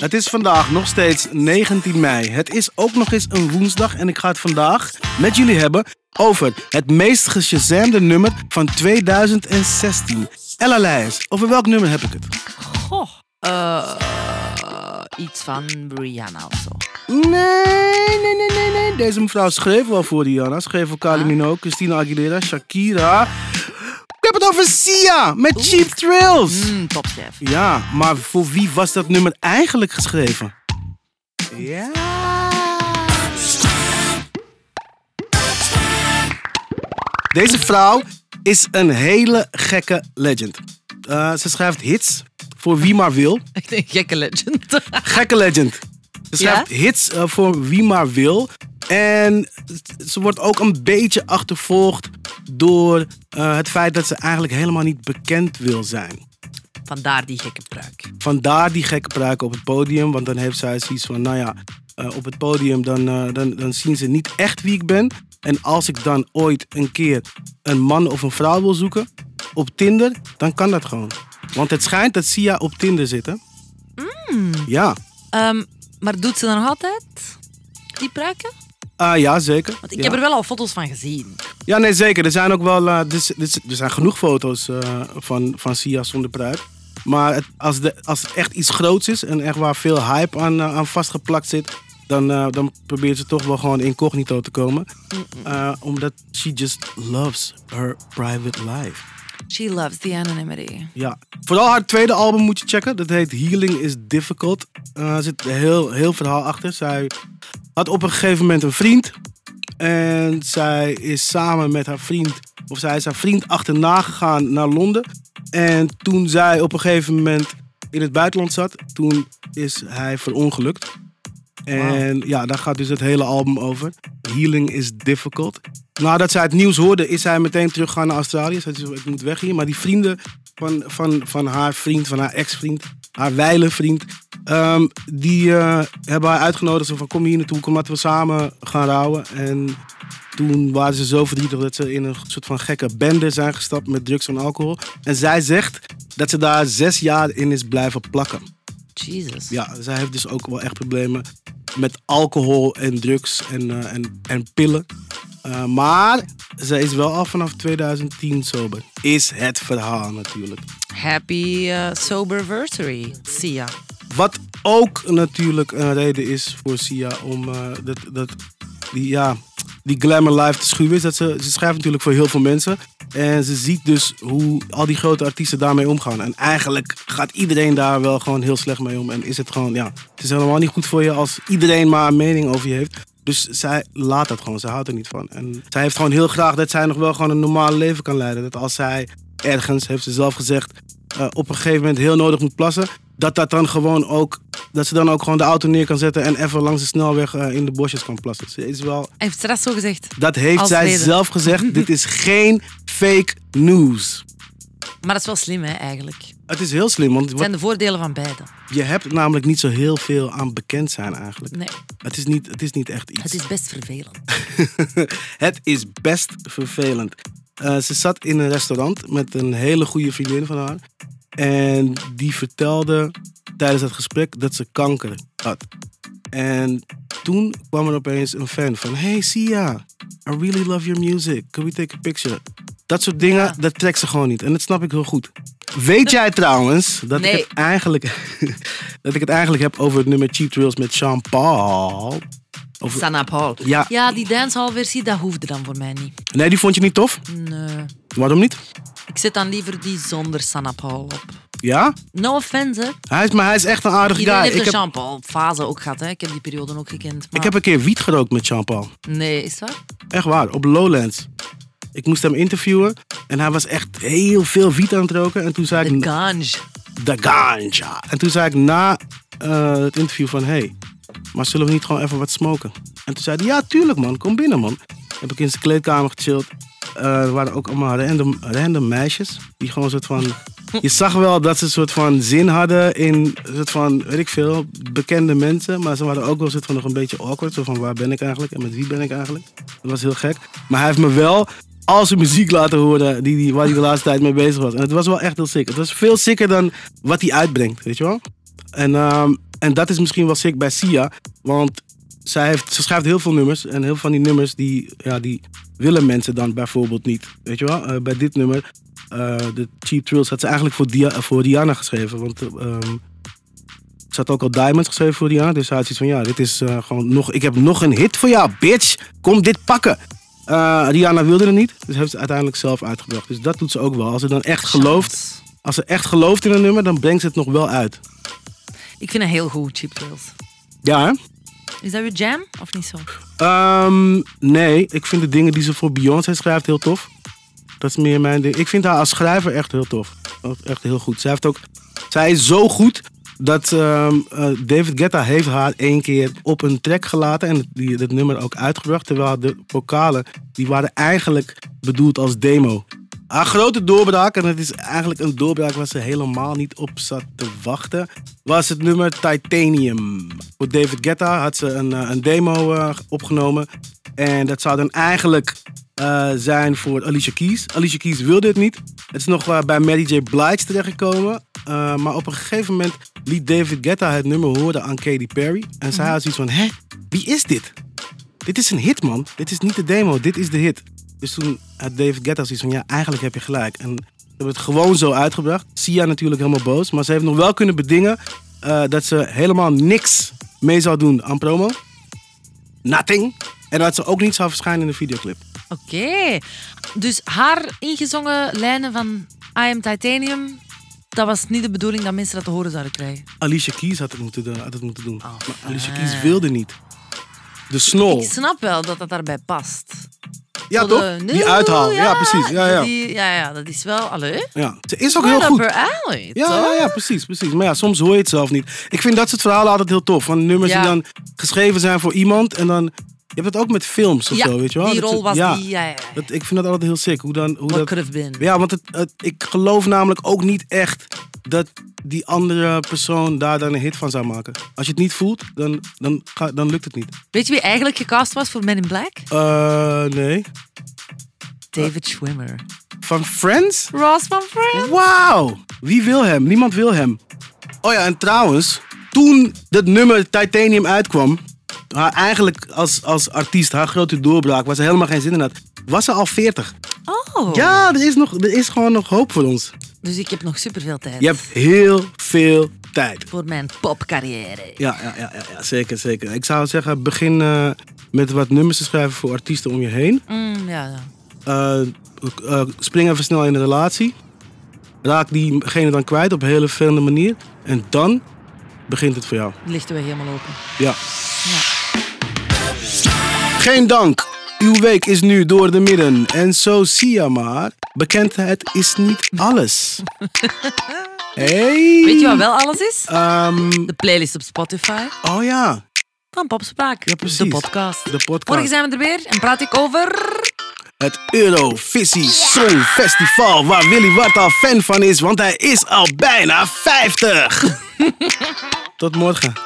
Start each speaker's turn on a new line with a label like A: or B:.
A: Het is vandaag nog steeds 19 mei. Het is ook nog eens een woensdag en ik ga het vandaag met jullie hebben over het meest geshazamde nummer van 2016. Ella Leijers, over welk nummer heb ik het?
B: Goh. Eh, iets van Rihanna of zo.
A: Nee, nee, nee, nee, nee. Deze mevrouw schreef wel voor Rihanna. Schreef voor Kylie Minogue, Christina Aguilera, Shakira. Ik heb het over Sia met Cheap Thrills.
B: Mm, topchef.
A: Ja, maar voor wie was dat nummer eigenlijk geschreven? Ja. Deze vrouw is een hele gekke legend. Eh, ze schrijft hits voor wie maar wil.
B: Ik denk gekke legend.
A: Gekke legend. Ze schrijft hits eh, voor wie maar wil. En ze wordt ook een beetje achtervolgd door eh, het feit dat ze eigenlijk helemaal niet bekend wil zijn.
B: Vandaar die gekke pruik.
A: Vandaar die gekke pruik op het podium. Want dan heeft zij zoiets van, nou ja, eh, op het podium dan, eh, dan, dan zien ze niet echt wie ik ben. En als ik dan ooit een keer een man of een vrouw wil zoeken op Tinder, dan kan dat gewoon. Want het schijnt dat Sia op Tinder zit, hè?
B: Mm.
A: Ja.
B: Ehm, maar doet ze dan nog altijd die pruiken?
A: Ah ja, zeker.
B: Want ik
A: ja.
B: heb er wel al foto's van gezien.
A: ja, nee, zeker. Er zijn ook wel, eh, dus- dus- er zijn genoeg foto's eh, van, van Sia zonder pruik. Maar het- als, de, als het echt iets groots is en echt waar veel hype aan, eh, aan vastgeplakt zit, dan, eh, dan probeert ze toch wel gewoon incognito te komen. Eh, omdat she just loves her private life.
B: She loves the anonymity.
A: Ja. Vooral haar tweede album moet je checken. Dat heet Healing is Difficult. Eh, er zit een heel, heel verhaal achter. Zij had op een gegeven moment een vriend. En zij is samen met haar vriend, of zij is haar vriend achterna gegaan naar Londen. En toen zij op een gegeven moment in het buitenland zat, toen is hij verongelukt. En ja, daar gaat dus het hele album over. Healing is difficult. Nadat zij het nieuws hoorde, is hij meteen teruggegaan naar Australië. Ze zei, ik moet weg hier. Maar die vrienden van, van, van haar vriend, van haar ex-vriend, haar wijle vriend... ehm, die eh, hebben haar uitgenodigd. Zo van, kom hier naartoe, kom laten we samen gaan rouwen. En toen waren ze zo verdrietig dat ze in een soort van gekke bende zijn gestapt met drugs en alcohol. En zij zegt dat ze daar zes jaar in is blijven plakken.
B: Jesus.
A: Ja, zij heeft dus ook wel echt problemen met alcohol en drugs en, eh, en, en pillen. Eh, maar zij is wel al vanaf 2010 sober. Is het verhaal natuurlijk.
B: Happy eh, soberversary, Sia.
A: Wat ook natuurlijk een reden is voor Sia om eh, dat, dat, die, ja, die glamour life te schuwen. Is dat ze, ze schrijft natuurlijk voor heel veel mensen. En ze ziet dus hoe al die grote artiesten daarmee omgaan. En eigenlijk gaat iedereen daar wel gewoon heel slecht mee om. En is het gewoon, ja, het is helemaal niet goed voor je als iedereen maar een mening over je heeft. Dus zij laat dat gewoon, ze houdt er niet van. En zij heeft gewoon heel graag dat zij nog wel gewoon een normaal leven kan leiden. Dat als zij ergens, heeft ze zelf gezegd, eh, op een gegeven moment heel nodig moet plassen, dat, dat, dan gewoon ook, dat ze dan ook gewoon de auto neer kan zetten en even langs de snelweg eh, in de bosjes kan plassen. Ze is wel,
B: Heeft ze dat zo gezegd?
A: dat heeft
B: Als
A: zij
B: reden.
A: zelf gezegd. Dit is geen fake news.
B: Maar dat is wel slim, hè, eigenlijk. Het
A: Het is heel slim, want wat-
B: zijn de voordelen van beide.
A: je hebt namelijk niet zo heel veel aan bekend zijn eigenlijk.
B: Nee,
A: Het is niet, het is niet echt iets.
B: het is best vervelend.
A: het is best vervelend. Eh, ze zat in een restaurant met een hele goede vriendin van haar. En die vertelde tijdens het gesprek dat ze kanker had. En toen kwam er opeens een fan van... Hey Sia, I really love your music. Can we take a picture? Dat soort dingen, dat trekt ze gewoon niet. En dat snap ik heel goed. Weet jij trouwens dat,
B: Nee.
A: ik, het eigenlijk, dat ik het eigenlijk heb over het nummer Cheap Thrills met Sean Paul? Over-
B: Sanna Paul.
A: Ja.
B: ja, die dancehall-versie, dat hoefde dan voor mij niet.
A: Nee, die vond je niet tof?
B: Nee.
A: Waarom niet?
B: Ik zet dan liever die zonder Sanna Paul op.
A: Ja?
B: No offense, hè.
A: Hij is, maar hij is echt een aardige
B: Iedereen
A: guy.
B: heeft
A: Ik
B: de
A: heb,
B: Jean-Paul-fase ook gehad, hè. Ik heb die periode ook gekend. Maar...
A: ik heb een keer wiet gerookt met Jean-Paul.
B: Nee, is dat?
A: Echt waar, op Lowlands. Ik moest hem interviewen en hij was echt heel veel wiet aan het roken. En toen zei
B: De
A: ik,
B: ganj.
A: de ganja. En toen zei ik na eh, het interview van, hey, maar zullen we niet gewoon even wat smoken? En toen zei hij, ja tuurlijk man, kom binnen man. Heb ik in zijn kleedkamer gechilled. Eh, er waren ook allemaal random, random meisjes. Die gewoon een soort van... Je zag wel dat ze een soort van zin hadden in een soort van, weet ik veel, bekende mensen. Maar ze waren ook wel een soort van nog een beetje awkward. Zo van, waar ben ik eigenlijk en met wie ben ik eigenlijk? Dat was heel gek. Maar hij heeft me wel al zijn muziek laten horen die, die, waar hij de laatste tijd mee bezig was. En het was wel echt heel sick. Het was veel sicker dan wat hij uitbrengt, weet je wel? En ehm, En dat is misschien wel sick bij Sia. Want zij heeft, ze schrijft heel veel nummers. En heel veel van die nummers die, ja, die willen mensen dan bijvoorbeeld niet. Weet je wel? Eh, bij dit nummer, eh, de Cheap Thrills, had ze eigenlijk voor, Dia, voor Diana geschreven. Want eh, ehm, ze had ook al Diamonds geschreven voor Diana. Dus ze had zoiets van, ja, dit is eh, gewoon nog... Ik heb nog een hit voor jou, bitch! Kom dit pakken! Eh, Rihanna wilde het niet, dus heeft ze uiteindelijk zelf uitgebracht. Dus dat doet ze ook wel. Als ze dan echt gelooft,
B: Chance.
A: als ze echt gelooft in een nummer, dan brengt ze het nog wel uit.
B: Ik vind het heel goed, Cheap Thrills.
A: Ja, hè?
B: Is dat je jam of niet zo?
A: Ehm, nee, ik vind de dingen die ze voor Beyoncé schrijft heel tof. Dat is meer mijn ding. Ik vind haar als schrijver echt heel tof. Ook Echt heel goed. Zij, heeft ook, zij is zo goed dat ehm, eh, David Guetta heeft haar één keer op een track gelaten en die, dat nummer ook uitgebracht. Terwijl de vocalen, die waren eigenlijk bedoeld als demo. Haar grote doorbraak, en het is eigenlijk een doorbraak waar ze helemaal niet op zat te wachten, was het nummer Titanium. Voor David Guetta had ze een, eh, een demo eh, opgenomen. En dat zou dan eigenlijk eh, zijn voor Alicia Keys. Alicia Keys wilde het niet. Het is nog eh, bij Mary J. Blige terechtgekomen. Eh, maar op een gegeven moment liet David Guetta het nummer horen aan Katy Perry. En zij had zoiets van, hè, wie is dit? Dit is een hit, man. Dit is niet de demo, dit is de hit. Dus toen had David Guetta zoiets van, ja, eigenlijk heb je gelijk. En ze hebben het gewoon zo uitgebracht. Sia natuurlijk helemaal boos. Maar ze heeft nog wel kunnen bedingen eh, dat ze helemaal niks mee zou doen aan promo. Nothing. En dat ze ook niet zou verschijnen in de videoclip.
B: Oké. Dus haar ingezongen lijnen van I am Titanium, dat was niet de bedoeling dat mensen dat te horen zouden krijgen.
A: Alicia Keys had het moeten, doen- had het moeten doen.
B: Oh,
A: maar Alicia
B: ah.
A: Keys wilde niet. De snol.
B: Ik snap wel dat dat daarbij past.
A: Oh. Ja,
B: Zo
A: toch?
B: de-
A: Die uithaal. Ja, precies. Ja, ja.
B: Die, ja, ja, dat is wel... Allee?
A: ja. Ze is ook
B: Maar
A: heel
B: dat
A: goed.
B: per alley,
A: Ja,
B: toch?
A: ja, ja, precies, precies. Maar ja, soms hoor je het zelf niet. Ik vind dat soort verhalen altijd heel tof. Van nummers
B: Ja.
A: die dan geschreven zijn voor iemand. En dan... Je hebt het ook met films of
B: Ja,
A: zo, weet je wel?
B: die
A: Dat
B: rol
A: ze-
B: was
A: ja,
B: die... eh, Ja, ja, ja.
A: Dat, ik vind dat altijd heel sick. Hoe dan, hoe
B: What
A: dat,
B: could have been.
A: ja, want het, het- ik geloof namelijk ook niet echt dat die andere persoon daar dan een hit van zou maken. Als je het niet voelt, dan, dan, ga- dan lukt het niet.
B: Weet je wie eigenlijk gecast was voor Men in Black?
A: Eh, nee.
B: David Schwimmer.
A: Van Friends?
B: Ross van Friends.
A: Wauw! Wie wil hem? Niemand wil hem. Oh ja, en trouwens, toen dat nummer Titanium uitkwam, haar eigenlijk als, als artiest, haar grote doorbraak, waar ze helemaal geen zin in had, was ze al 40.
B: Oh.
A: Ja, er is, nog, er is gewoon nog hoop voor ons.
B: Dus ik heb nog superveel tijd
A: Je hebt heel veel tijd.
B: voor mijn popcarrière.
A: Ja, ja, ja, ja, ja, zeker, zeker. Ik zou zeggen, begin eh, met wat nummers te schrijven voor artiesten om je heen.
B: Mm, ja, ja.
A: Eh, eh, spring even snel in een relatie. Raak diegene dan kwijt op een hele vervelende manier. En dan begint het voor jou.
B: Lichten we helemaal open.
A: Ja.
B: Ja.
A: Geen dank. Uw week is nu door de midden. En zo zie je maar. Bekendheid is niet alles. Hey.
B: Weet je wat wel alles is?
A: Ehm,
B: De playlist op Spotify
A: oh ja,
B: van Popspraak.
A: Ja, precies.
B: De podcast.
A: de
B: Morgen
A: podcast.
B: zijn we er weer en praat ik over...
A: Het Eurovisie Songfestival. Waar Willy Wart al fan van is, want hij is al bijna 50. Tot morgen.